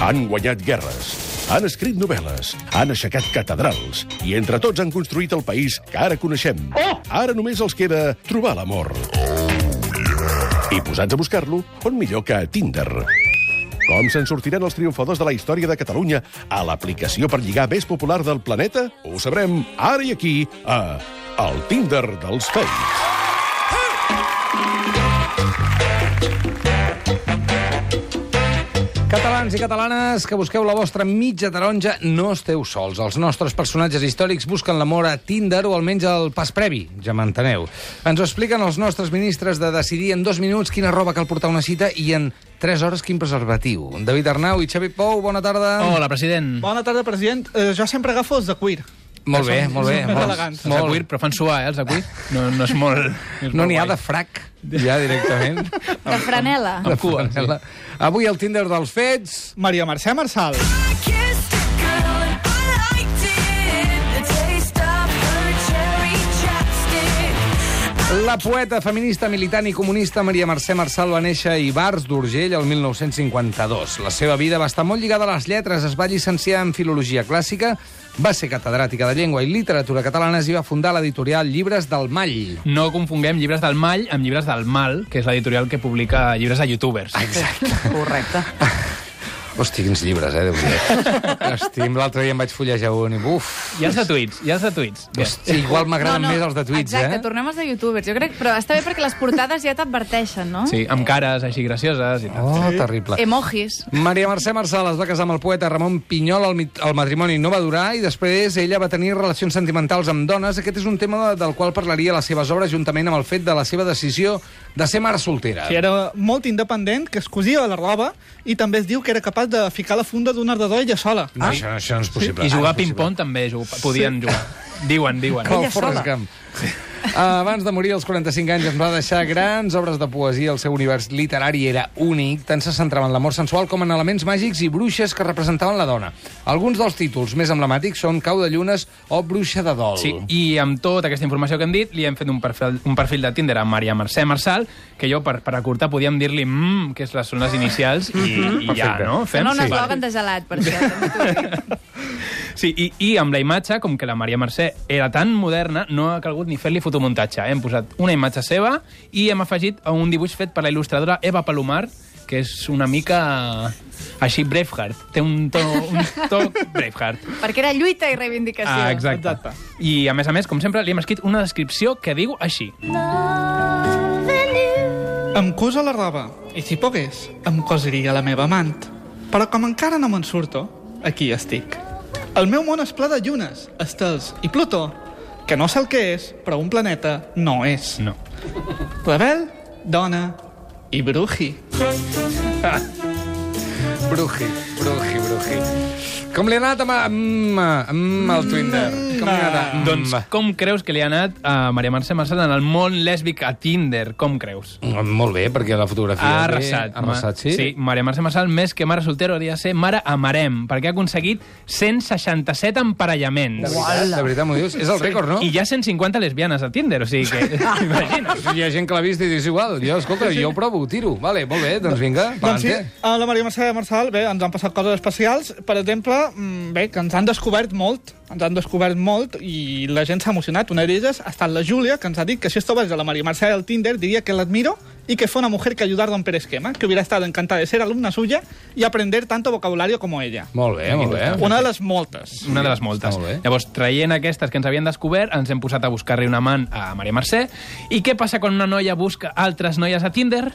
Han guanyat guerres, han escrit novel·les, han aixecat catedrals i entre tots han construït el país que ara coneixem. Ara només els queda trobar l'amor. I posats a buscar-lo, on millor que a Tinder. Com se'n sortiran els triomfadors de la història de Catalunya a l'aplicació per lligar més popular del planeta? Ho sabrem ara i aquí, a El Tinder dels Fakes. Catalans i catalanes que busqueu la vostra mitja taronja, no esteu sols. Els nostres personatges històrics busquen l'amor a Tinder o almenys al pas previ, ja m'enteneu. Ens ho expliquen els nostres ministres de decidir en dos minuts quina roba cal portar a una cita i en tres hores quin preservatiu. David Arnau i Xavi Pou, bona tarda. Hola, president. Bona tarda, president. Eh, jo sempre agafo els de cuir. Molt bé, molt bé. Són més Molt, elegants. Els de cuir, molt. però fan suar, eh, els de cuir. No, no és molt... és No molt n'hi ha guai. de frac, ja directament. De franela. De cua, sí. Avui el Tinder dels fets... Maria Mercè Marçal. La poeta, feminista, militant i comunista Maria Mercè Marçal va néixer a Ibars d'Urgell el 1952. La seva vida va estar molt lligada a les lletres, es va llicenciar en Filologia Clàssica, va ser catedràtica de Llengua i Literatura Catalanes i va fundar l'editorial Llibres del Mall. No confonguem llibres del mall amb llibres del mal, que és l'editorial que publica llibres a youtubers. Correcte. Hosti, quins llibres, eh, Déu-n'hi-do. Hosti, l'altre dia em vaig fullejar un i buf. Hi ha els de tuits, hi ha els de tuits. Bé, Hosti, igual m'agraden més els de tuits, exacte, eh? tornem als de youtubers. Jo crec, però està bé perquè les portades ja t'adverteixen, no? Sí, amb cares així gracioses i tal. Oh, terrible. Emojis. Maria Mercè Marçal es va casar amb el poeta Ramon Pinyol, el, mit- el matrimoni no va durar i després ella va tenir relacions sentimentals amb dones. Aquest és un tema del qual parlaria a les seves obres juntament amb el fet de la seva decisió de ser mare soltera. Sí, era molt independent, que es cosia la roba i també es diu que era capaç de ficar la funda d'un ardador ella sola. No, això, això no és possible. I Ah, jugar a és possible. ping-pong també jug- podien jugar. Diuen, diuen. Com Ah, Forrest Gump. Abans de morir als 45 anys ens va deixar grans obres de poesia. El seu univers literari era únic, tant se centrava en l'amor sensual com en elements màgics i bruixes que representaven la dona. Alguns dels títols més emblemàtics són Cau de llunes o Bruixa de dol. Sí, i amb tota aquesta informació que hem dit, li hem fet un perfil, un perfil de Tinder a Maria Mercè Marçal, que jo, per, per acortar, podíem dir-li mm, que és les, són les inicials, i, i ja, Mm-hmm. Perfecte. no? Fem, Sembla un Sí. eslògan de gelat, per això. també t'ho dic. Sí, i, i amb la imatge, com que la Maria Mercè era tan moderna, no ha calgut ni fer-li fotomuntatge. Hem posat una imatge seva i hem afegit un dibuix fet per la il·lustradora Eva Palomar, que és una mica així Braveheart. Té un to, un toc Braveheart. perquè era lluita i reivindicació. Ah, exacte. Exacte. I, a més a més, com sempre, li hem escrit una descripció que diu així. Em cosa la roba i si pogués, em cosiria la meva amant. Però com encara no me'n surto, aquí estic. El meu món és ple de llunes, estels i Plutó, que no sé el que és, però un planeta no és. No. Rebel, dona i bruji. Bruji, bruji, bruji. Com li ha anat amb, amb, amb el Tinder? Com li ha anat? Mm. Doncs com creus que li ha anat a Maria Mercè Marçal en el món lèsbic a Tinder? Com creus? Mm, Molt bé, perquè la fotografia... Ha bé, arrasat. Ha arrasat, sí? Sí, Maria Mercè Massal, més que mare soltera, hauria de ser mare amarem, perquè ha aconseguit 167 De emparellaments. veritat, de veritat m'ho dius? És el rècord, no? I ja 150 lesbianes a Tinder, o sigui que... Imagina't. Hi ha gent que l'ha vist i dius igual. Jo, escolta, jo ho provo, ho tiro. Vale, molt bé, doncs vinga, Doncs sí, pa'lante. a la Maria Mercè Marçal, bé, ens han passat coses especials. Per exemple, mm, bé, que ens han descobert molt, ens han descobert molt i la gent s'ha emocionat. Una d'elles ha estat la Júlia, que ens ha dit que si estuvies a la Maria Mercè del Tinder diría que la admiro y que fue una mujer que ayudaron en Peresquema, que hubiera estado encantada de ser alumna suya y aprender tanto vocabulario como ella. Molt bé, molt bé. Una de les moltes. Una de les moltes. Està molt bé. Llavors, traient aquestes que ens havien descobert, ens hem posat a buscar-li un amant a Maria Mercè. I què passa quan una noia busca altres noies a Tinder?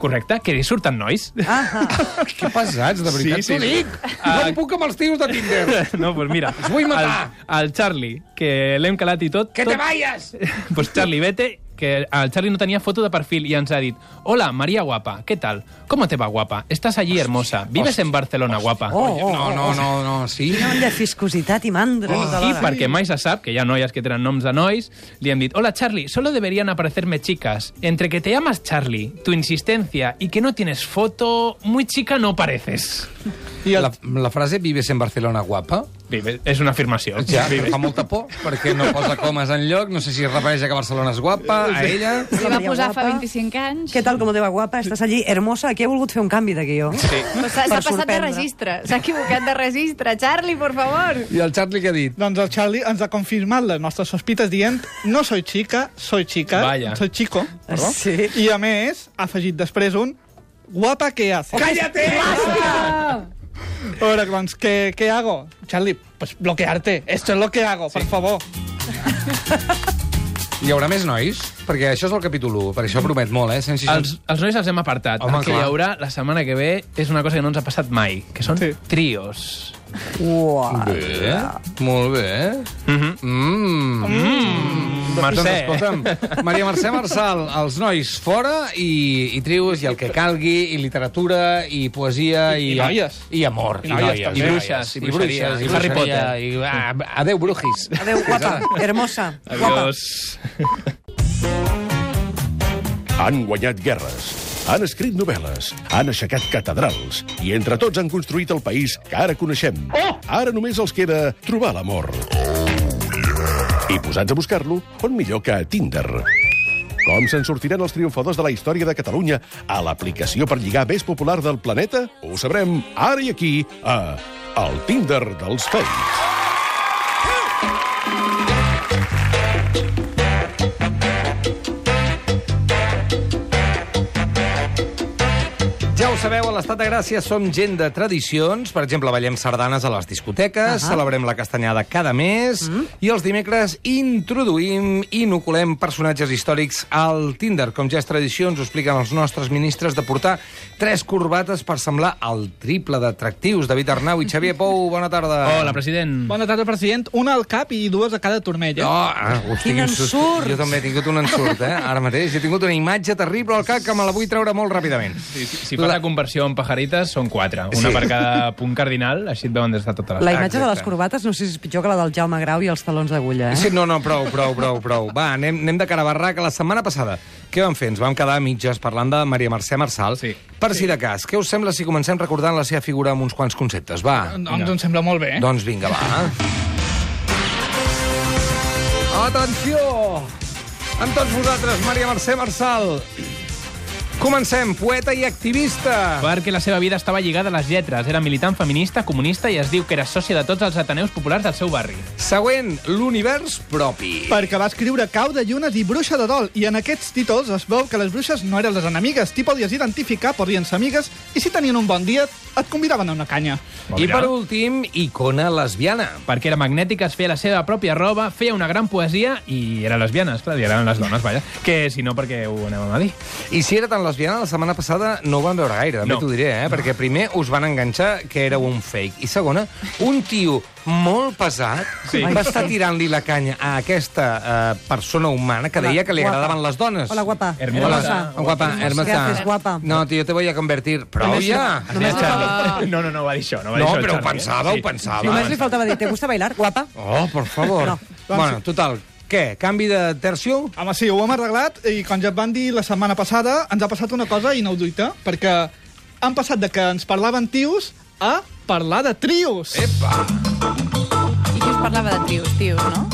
Correcte, que li surten nois. Que pesats, de veritat, Sí, sí, t'ho sí. dic. No puc amb els tios de Tinder. No, pues mira. Els vull matar. El, el Charlie, que l'hem calat i tot... Que te tot- vayas! Pues Charlie, vete, que el Charlie no tenía foto de perfil y ens ha dit Hola, María guapa, ¿qué tal? ¿Cómo te va, guapa? Estás allí hermosa. ¿Vives en Barcelona, guapa? Oh, No, no, no, no, sí. Una olla de fiscositat i mandra. Oh, I perquè mai se sap, que hi ha noies que tenen noms de nois, li hem dit Hola, Charlie, solo deberían aparecerme chicas. Entre que te llamas Charlie, tu insistencia y que no tienes foto, muy chica no pareces. I el, La, la frase «Vives en Barcelona guapa» Vives, és una afirmació. Ja, però Vives. fa molta por, perquè no posa comes en lloc, no sé si es refereix a que Barcelona és guapa, a ella... S'hi va Maria posar guapa. fa 25 anys. Què tal, com deva guapa? Estàs allí hermosa. Aquí he volgut fer un canvi de guió. Eh, Sí. Però S'ha s'ha passat de registre, s'ha equivocat de registre. Charlie, por favor. I el Charlie què ha dit? Doncs el Charlie ens ha confirmat les nostres sospites dient no soy chica, soy chica, Vaya. soy chico. Perdó. Sí. I a més, ha afegit després un guapa que hace. Cállate! A veure, doncs, què, què hago? Charlie, pues bloquearte. Esto es lo que hago, por favor. Hi haurà més nois? Perquè això és el capítol 1, perquè això promet molt, eh? 160... Els, els nois els hem apartat. Home, el que clar. hi haurà la setmana que ve és una cosa que no ens ha passat mai, que són Sí. trios. Uah. Bé, molt bé. Mhm. Mm. Mm, Doncs Mercè. escolta'm, Maria Mercè Marçal, els nois fora i, i trios i el que calgui, i literatura, i poesia... I, I noies. I amor. I noies, també. I bruixes, i bruixeria, i Harry Potter. I, ah, adeu, brujis. Adéu, guapa, hermosa. Guapa. Adiós. Han guanyat guerres, han escrit novel·les, han aixecat catedrals i entre tots han construït el país que ara coneixem. Oh! Ara només els queda trobar l'amor. Oh, yeah. I posats a buscar-lo, on millor que a Tinder. Com se'n sortiran els triomfadors de la història de Catalunya a l'aplicació per lligar més popular del planeta? Ho sabrem ara i aquí, a El Tinder dels Fakes. Ja ho sabeu, a l'Estat de Gràcia som gent de tradicions. Per exemple, ballem sardanes a les discoteques, uh -huh. celebrem la castanyada cada mes Mm. uh -huh. i els dimecres introduïm, inoculem personatges històrics al Tinder. Com ja és tradició, ens ho expliquen els nostres ministres de portar tres corbates per semblar el triple d'atractius. David Arnau i Xavier Pou, bona tarda. Hola, president. Bona tarda, president. Una al cap i dues a cada Jo, turmella. ah, hosti, Quin quin susto. ensurt! Jo també he tingut un ensurt, eh? Ara mateix he tingut una imatge terrible al cap que me la vull treure molt ràpidament. Si, si si fas la... conversió en pajarites, són quatre. Una Sí. per cada punt cardinal, així et veuen des de tota La la... imatge de les Exacte. corbates no sé si és pitjor que la del Jaume Grau i els talons d'agulla, eh? Sí, no, no, prou, prou, prou, prou. Va, anem, anem de cara a barraca. La setmana passada, què vam fer? Ens vam quedar a mitges parlant de Maria Mercè Marçal. Sí. Per si de cas, què us sembla si comencem recordant la seva figura amb uns quants conceptes? Va, Doncs em sembla molt bé. doncs vinga, va. Atenció! Amb tots vosaltres, Maria Mercè Marçal. Comencem, poeta i activista. Perquè la seva vida estava lligada a les lletres. Era militant feminista, comunista i es diu que era sòcia de tots els ateneus populars del seu barri. Següent, l'univers propi. Perquè va escriure Cau de llunes i Bruixa de dol, i en aquests títols es veu que les bruixes no eren les enemigues, t'hi podies identificar, podien ser amigues, i si tenien un bon dia, et convidaven a una canya. I Mira. per últim, icona lesbiana. perquè era magnètica, es feia la seva pròpia roba, feia una gran poesia i era lesbiana, esclar, li agraden les dones, vaja. Que si no, perquè ho anàvem a dir. I si era tan lesbiana, la setmana passada no ho vam veure gaire, també No. t'ho diré, eh? Perquè primer us van enganxar que era un fake. I segona, un tio molt pesat sí. Sí. va estar tirant-li la canya a aquesta eh, persona humana que deia que li guapa. agradaven les dones. Hola, guapa. Hermosa. Hola, guapa, hermosa. Gracias, guapa. No, tio, te voy a convertir. Prou Només- ja! Només, li fal- Charlie. No, no, no, va dir això. No, va dir No, això, el però ho Charlie, eh? pensava, ho pensava. només li pensava. faltava dir, ¿te gusta bailar, guapa? Oh, por favor. No. doncs Bueno, total, què? Canvi de tercio? Home, sí, ho hem arreglat, i com ja et van dir la setmana passada, ens ha passat una cosa inaudita, perquè han passat de que ens parlaven tios a parlar de trios. Epa! I qui us parlava de trios, tios, no?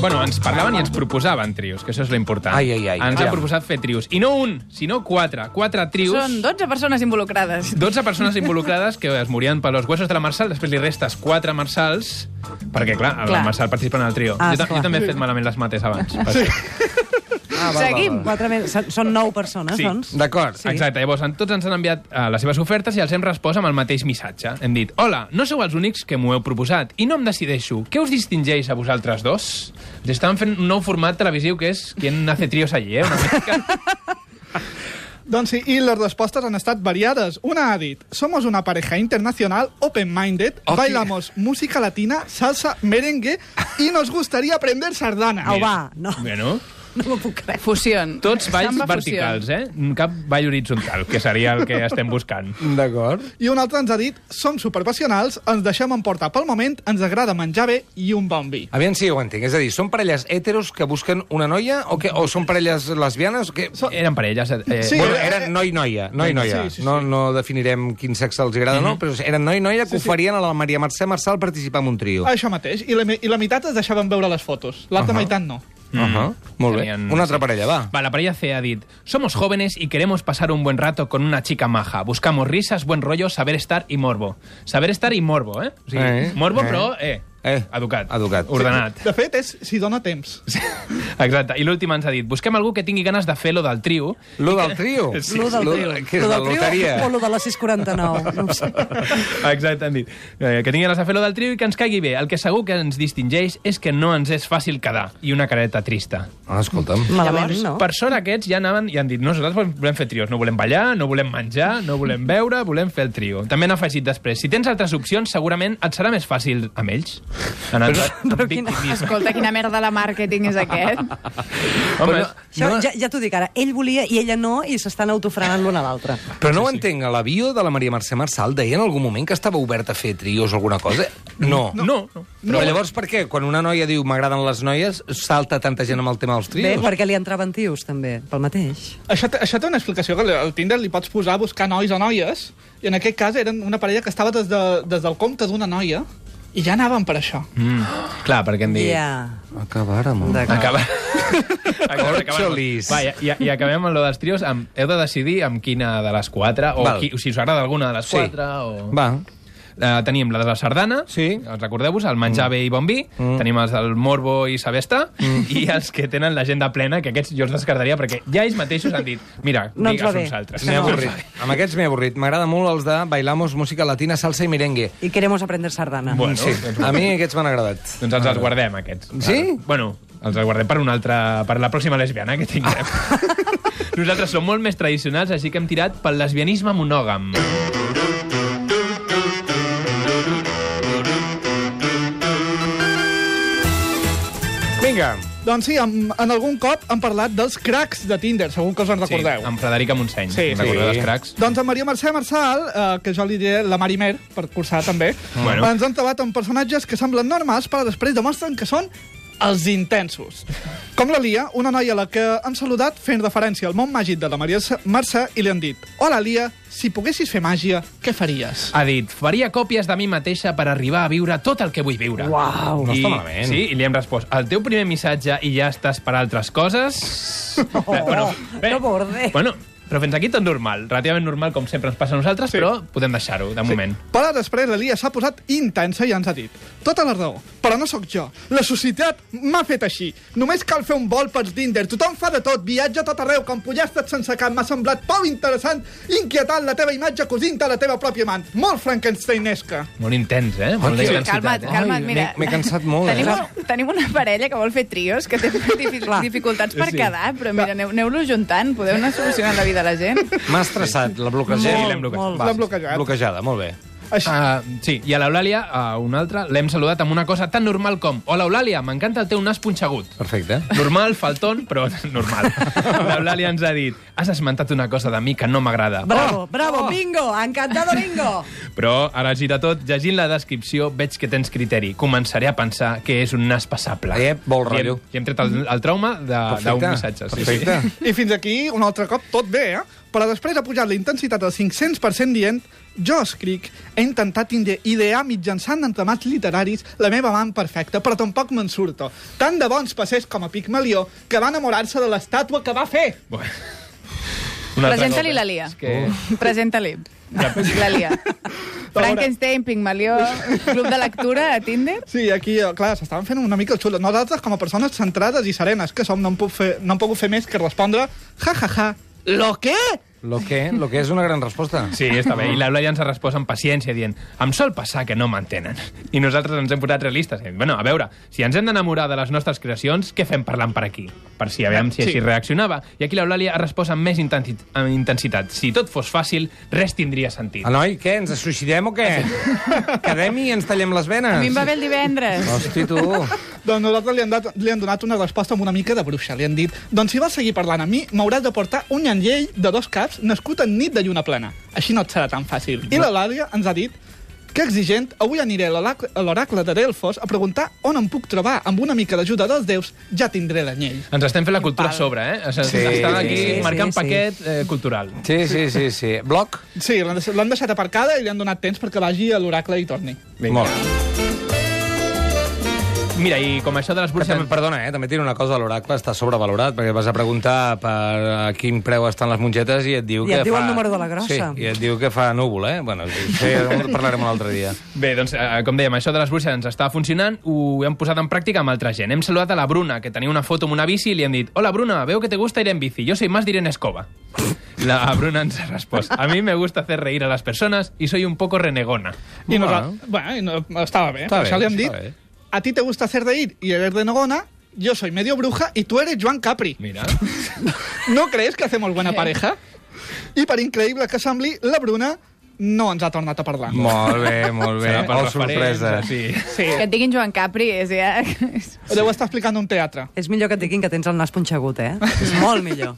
Bueno, ens parlaven i ens proposaven trios, que això és l'important. Ai, ai, ai, Ens ja. han proposat fer trios. I no un, sinó quatre. Quatre trios. Són 12 persones involucrades. 12 persones involucrades que es morien per los huesos de la Marsal, després li restes 4 Marsals, perquè, clar, clar. la Clar. Marsal participa en el trio. Ah, jo, ta- esclar. jo també he fet malament les mates abans. Sí. Ah, Seguim. Quatre men- són- Són nou persones, Sí. doncs. D'acord. Sí. Exacte, llavors en- tots ens han enviat uh, les seves ofertes i els hem respost amb el mateix missatge. Hem dit, hola, no sou els únics que m'ho heu proposat i no em decideixo. Què us distingeix a vosaltres dos? Ens estan fent un nou format televisiu que és Quien hace trios allí, eh? Una mica. Doncs sí, i les respostes han estat variades. Una ha dit, somos una pareja internacional, open-minded, Hòstia. bailamos música latina, salsa, merengue, y nos gustaría aprender sardana. Au, va, no. Bueno, No m'ho puc creure. Fusión. Tots balls Samba verticals, eh? Cap ball horitzontal, que seria el que estem buscant. D'acord. I un altre ens ha dit, som superpassionals, ens deixem emportar pel moment, ens agrada menjar bé i un bon vi. Aviam si ho entenc. És a dir, són parelles heteros que busquen una noia o, que, o són parelles lesbianes? Que... Eren parelles. Eh, Sí. Bueno, eh, eh. eren noi-noia, noi-noia. Sí, sí, Mhm. sí. No, no definirem quin sexe els agrada, no, però eren noi-noia que oferien a la Maria Mercè Marçal participar en un trio. Això mateix. I la, mi- i la meitat es deixaven veure les fotos. L'altra uh -huh. meitat no. Uh Mm. -huh. Molt bé. Tenien- Una altra parella, va. Va, la parella C ha dit, somos jóvenes y queremos pasar un buen rato con una chica maja. Buscamos risas, buen rollo, saber estar y morbo. Saber estar i morbo, eh? O sigui, Eh, morbo, eh. però, eh, Eh, educat, educat. ordenat. De fet, és si dona temps. Sí. Exacte. I l'última ens ha dit, busquem algú que tingui ganes de fer lo del trio. Lo del trio. Sí. Lo del trio. Què és, Lo la del trio O loteria? lo de la 649. No ho sé. Exacte, han dit. Eh, que tingui ganes de fer lo del trio i que ens caigui bé. El que segur que ens distingeix és que no ens és fàcil quedar. I una careta trista. Ah, escolta'm. Malament, Llavors, no? per sort aquests ja anaven i han dit nosaltres volem- volem fer trios, no volem ballar, no volem menjar, no volem beure, volem fer el trio. També han afegit després, si tens altres opcions, segurament et serà més fàcil amb ells. En el, amb victimisme. Escolta, quina merda de màrqueting és aquest. Home, Això, No. ja, ja t'ho dic ara. Ell volia i ella no, i s'estan autofrenant l'un a l'altre. Però no ho entenc, a l'avió de la Maria Mercè Marçal deia en algun moment que estava oberta a fer trios o alguna cosa? No. no, no. Però llavors per què? Quan una noia diu m'agraden les noies, salta tanta gent amb el tema dels Bé, trios? perquè li entraven tios, també, pel mateix. Això, té- això té una explicació, que al Tinder li pots posar a buscar nois o noies, i en aquest cas eren una parella que estava des, de, des del compte d'una noia, i ja anaven per això. Mm, clar, perquè hem dit... Ja. Acabàrem. D'acord. Acaba... Acaba- Corcholis. Va, i, i, i acabem amb lo dels trios. Amb, heu de decidir amb quina de les quatre, o Val. qui, si us agrada alguna de les Sí. quatre, o... Va. Eh, tenim la de la sardana, Sí. Mm. els recordeu-vos, el menjar bé i bon vi, tenim els del morbo i saber estar, i els que tenen l'agenda plena, que aquests jo els descartaria perquè ja ells mateixos han dit mira, No ens va digues bé. uns altres. M'he No. avorrit. Amb aquests m'he avorrit. M'agrada molt els de Bailamos, música latina, salsa i merengue. I queremos aprender sardana. Bueno, Sí, a mi aquests m'han agradat. Doncs ens els guardem, aquests. Sí? Bueno, els guardem per una altra... per la pròxima lesbiana que tinguem. Nosaltres som molt més tradicionals, així que hem tirat pel lesbianisme monògam. Vinga. Doncs sí, en, en algun cop han parlat dels cracs de Tinder, segur que us en recordeu. Sí, amb Frederica Montseny. Sí, Us Recordeu sí. dels cracs? Doncs en Maria Mercè Marçal, eh, que jo li diré la Marimer, per cursar també, Bueno. bueno. ens han trobat amb personatges que semblen normals, però després demostren que són els intensos. Com la Lia, una noia a la que han saludat fent referència al món màgic de la Maria Mercè i li han dit Hola, Lia, si poguessis fer màgia, què faries? Ha dit, faria còpies de mi mateixa per arribar a viure tot el que vull viure. Uau. No està malament. Sí, i li hem respost, el teu primer missatge i ja estàs per altres coses... Oh, que borde. Bueno, però fins aquí tot normal, relativament normal, com sempre ens passa a nosaltres, sí. però podem deixar-ho, de sí. moment. Però després la Lia s'ha posat intensa i ens ha dit Tota la raó, però no sóc jo. La societat m'ha fet així. Només cal fer un vol per Tinder. Tothom fa de tot, viatja a tot arreu, com pollastres sense cap. M'ha semblat pou interessant, inquietant la teva imatge cosint de la teva pròpia mant. Molt Frankensteinesca. Molt intens, eh? Molt Ah, Sí, Calma't, calma't, mira. M'he cansat molt, Tenim, eh? un- tenim una parella que vol fer trios, que té difi- Clar. dificultats per quedar, però mira, aneu- aneu-los juntant, podeu anar solucionant la vida a la gent. M'ha estressat, la bloquegem. Molt, l'hem bloquejat. molt. Va, L'hem bloquejat. Bloquejada, molt bé. Així, Uh, sí, i a l'Eulàlia, a una altra, l'hem saludat amb una cosa tan normal com Hola, Eulàlia, m'encanta el teu nas punxegut. Perfecte. Normal, faltón, però normal. L'Eulàlia ens ha dit Has esmentat una cosa de mi que no m'agrada. Bravo, bravo, bingo, encantado bingo. Però ara gira tot, llegint la descripció veig que tens criteri. Començaré a pensar que és un nas passable. Ep, Eh, vol I hem- rotllo. I hem tret el, el trauma de- d'un missatge. Perfecte. I fins aquí, un altre cop, tot bé, eh? Però després ha pujat la intensitat al 500% dient jo escric, he intentat inde- idear mitjançant entramats literaris la meva amant perfecta, però tampoc me'n surto. Tant de bons passers com a Pigmalió, que va enamorar-se de l'estàtua que va fer. Bueno. Una altra Presenta-li cosa. la Lia. Oh. És Que... Presenta-li. La Lia. Frankenstein, Pigmalió, Club de Lectura a Tinder. Sí, aquí, eh, clar, s'estaven fent una mica el xulo. Nosaltres, com a persones centrades i serenes que som, no hem, puc fer, no hem pogut fer més que respondre ja, ja, ja, lo que? Lo que, lo que és una gran resposta. Sí, està bé. I la Laia ens ha respost amb paciència, dient em sol passar que no m'entenen. I nosaltres ens hem posat realistes. Dient, bueno, a veure, si ens hem d'enamorar de les nostres creacions, què fem parlant per aquí? Per si, aviam si Sí. així reaccionava. I aquí l'Eulàlia ha respost amb més intensi amb intensitat. Si tot fos fàcil, res tindria sentit. Ah, noi, què, ens suïcidem o què? Quedem i ens tallem les venes? A mi em va bé el divendres. Hosti, tu. Doncs nosaltres li han, dat, li han donat una resposta amb una mica de bruixa. Li han dit, doncs si vols seguir parlant amb mi, m'hauràs de portar un anyell de dos caps nascut en nit de lluna plena. Així no et serà tan fàcil. I l'Elàlia ens ha dit que exigent, avui aniré a l'orac- a l'oracle de Delfos a preguntar on em puc trobar. Amb una mica d'ajuda dels déus ja tindré l'anyell. Ens estem fent la cultura a Pal. sobre, eh? Ens Sí, sí, estan sí, aquí sí, sí, marcant sí. sí, paquet eh, cultural. Sí, sí, sí, sí. Bloc? Sí, l'han deixat- l'han deixat aparcada i li han donat temps perquè vagi a l'oracle i torni. Vinga. Molt. Mira, i com això de les Que burses... També, perdona, eh? també tira una cosa, l'oracle està sobrevalorat, perquè vas a preguntar per a quin preu estan les mongetes i et diu I que et diu fa... el número de la grossa. Sí, i et diu que fa núvol, eh? Bueno, sí, en parlarem un altre dia. Bé, doncs, eh, com dèiem, això de les bruixes ens està funcionant, ho hem posat en pràctica amb altra gent. Hem saludat a la Bruna, que tenia una foto amb una bici, i li hem dit «Hola, Bruna, veo que te gusta ir en bici. Yo soy más de ir en escoba». La Bruna ens ha respost «A mí me gusta hacer reír a las personas y soy un poco renegona». I Bueno. bueno. Bueno, i no, estava bé. Està bé, Està això li hem està dit, bé. a ti te gusta hacer de ir y eres de Nogona, yo soy medio bruja y tú eres Joan Capri. Mira, ¿No crees que hacemos buena pareja? I per increïble que sembli, la Bruna no ens ha tornat a parlar. Molt bé, molt bé. serà per oh, referents, eh, sorpresa. Sí. Sí. Que et diguin Joan Capri és ja... és- Deu estar explicant un teatre. És millor que et diguin que tens el nas punxegut, eh? És molt millor.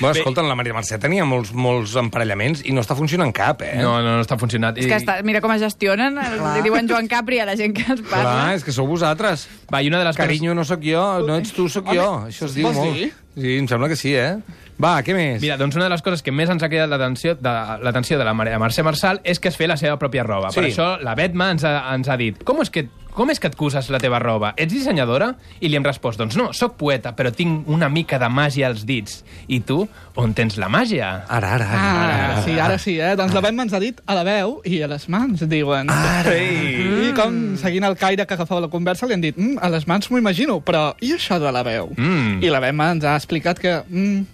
Bueno, escolta, la Maria Mercè tenia molts, molts emparellaments i no està funcionant cap, eh? No, no, no està funcionant. És que està, mira com es gestionen, Clar. li diuen Joan Capri a la gent que els Clar, parla. és que sou vosaltres. Va, i una de les coses- Carinyo, no sóc jo, no ets tu, sóc jo. Això es diu vols molt. dir? Sí, em sembla que sí, eh? Va, què més? Mira, doncs una de les coses que més ens ha cridat l'atenció de, l'atenció de la Maria Mercè Marçal és que es feia la seva pròpia roba. Sí. Per això la Betma ens ha, ens ha dit com és que com és que et cuses la teva roba? Ets dissenyadora? I li hem respost, doncs no, sóc poeta, però tinc una mica de màgia als dits. I tu, on tens la màgia? Ara, ara, ara. Ah, sí, ara sí, eh? Doncs la Batman ens ha dit a la veu i a les mans, diuen. Ara. I com, seguint el caire que agafava la conversa, li han dit, mm, a les mans m'ho imagino, però i això de la veu? Mm. I la Batman ens ha explicat que, mm,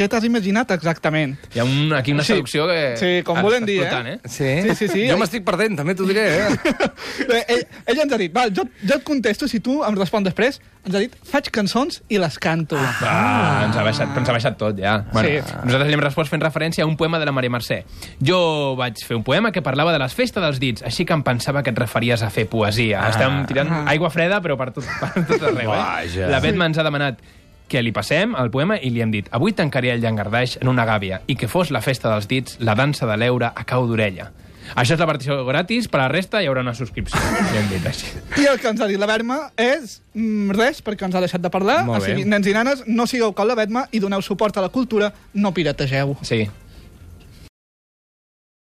què t'has imaginat exactament? Hi ha un, aquí una Sí. seducció que... Sí, com ens volen està dir, eh? explotant, Sí? Sí, sí, sí. Jo m'estic perdent, també t'ho diré, eh? Bé, ell, ell ens ha dit, val, jo, jo et contesto si tu em respon després. Ens ha dit, faig cançons i les canto. Ah. Ah, ens ha baixat, ens ha baixat tot, ja. Bueno, Sí. Nosaltres li hem respost fent referència a un poema de la Maria Mercè. Jo vaig fer un poema que parlava de les festes dels dits, així que em pensava que et referies a fer poesia. Ah. Estem tirant aigua freda, però per tot, per tot arreu. Vaja. Eh? La Betma ens ha demanat que li passem al poema i li hem dit avui tancaré el llangardaix en una gàbia i que fos la festa dels dits, la dansa de l'eure a cau d'orella. Això és la partició gratis, per la resta hi haurà una subscripció. Li hem dit així. I el que ens ha dit la Berma és mm, res, perquè ens ha deixat de parlar. Molt o sigui, bé. nens i nanes, no sigueu com la Betma i doneu suport a la cultura, no pirategeu. Sí,